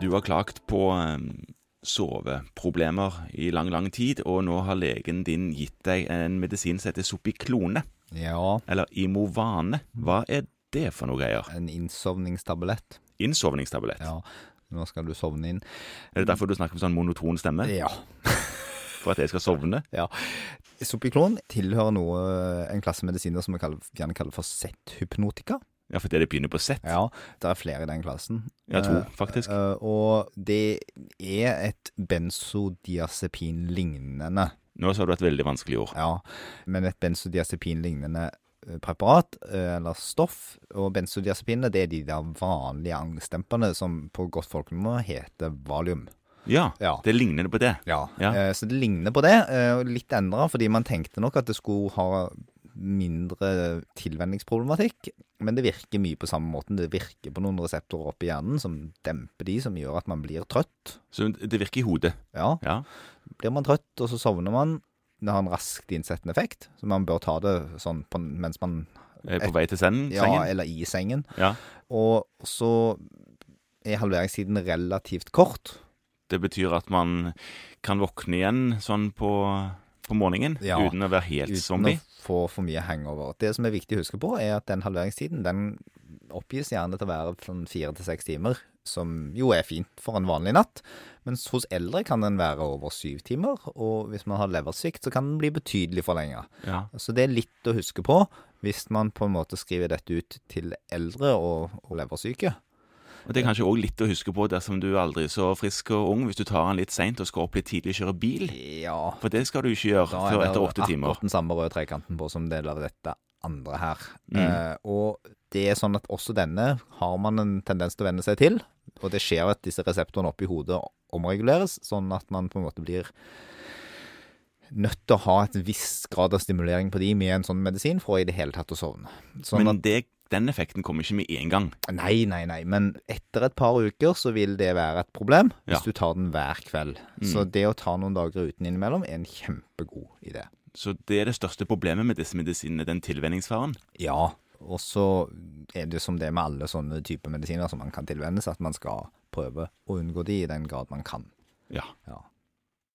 Du har klagt på eh, soveproblemer i lang, lang tid, og nå har legen din gitt deg en medisin som heter Sopiklone, Ja, eller Imovane. Hva er det for noe greier? en innsovningstablett. Innsovningstablett. Ja, nå skal du sovne inn. Er det derfor du snakker med sånn monoton stemme? Ja. For at jeg skal sovne? ja. Sopiklon tilhører noe, eh, en klasse medisiner som vi kaller, gjerne kaller for Z-hypnotika. Ja, fordi det begynner på Z. Ja, det er flere i den klassen. Ja, to, Eh, faktisk. eh, og det er et benzodiazepin-lignende Nå sa du et veldig vanskelig ord. Ja, men et benzodiazepin-lignende eh, preparat eh, eller stoff, og benzodiazepinene det er de der vanlige angstdemperne som på godt folkemunne heter valium. Ja, Ja. det ligner på det. Ja. Ja. eh, Så det ligner på det, eh, og litt endra, fordi man tenkte nok at det skulle ha mindre tilvenningsproblematikk, men det virker mye på samme måten. Det virker på noen reseptorer oppi hjernen som demper de, som gjør at man blir trøtt. Så det virker i hodet. Ja, Ja. blir man trøtt, og så sovner man. Det har en raskt innsettende effekt, så man bør ta det sånn på, mens man Eh, På vei til sengen? Ja, sengen. eller i sengen. Ja. Og så er halveringstiden relativt kort. Det betyr at man kan våkne igjen sånn på, på morgenen Ja. uten å være helt Uten zombie. å få for mye hangover. Det som er viktig å huske på, er at den halveringstiden den oppgis gjerne til å være sånn fire til seks timer, som jo er fint for en vanlig natt. Mens hos eldre kan den være over syv timer, og hvis man har leversvikt, så kan den bli betydelig forlenga. Ja. Så det er litt å huske på hvis man på en måte skriver dette ut til eldre og, og leversyke. Og Det er kanskje òg litt å huske på dersom du er aldri så frisk og ung, hvis du tar den litt seint og skal opp litt tidlig og kjøre bil. Ja, For det skal du ikke gjøre Da er før det etter åtte timer. Akkurat den samme røde trekanten på som del av dette andre her. Mm. Eh, og det er sånn at også denne har man en tendens til å venne seg til. Og det skjer at disse reseptorene oppi hodet omreguleres, sånn at man på en måte blir nødt til å ha et visst grad av stimulering på de med en sånn medisin for i det hele tatt å sovne. Sånn Men det, den effekten kommer ikke med en gang. at Nei, nei, nei. Men etter et par uker så vil det være et Ja. problem Mm. hvis du tar den hver kveld. Så det å ta noen dager uten innimellom er en kjempegod idé. Så det er det største problemet med disse medisinene, den tilvenningsfaren. Ja, og så er det som det med alle sånne typer medisiner som man kan tilvenne seg, at man skal prøve å unngå de i den grad man kan. Ja. Ja.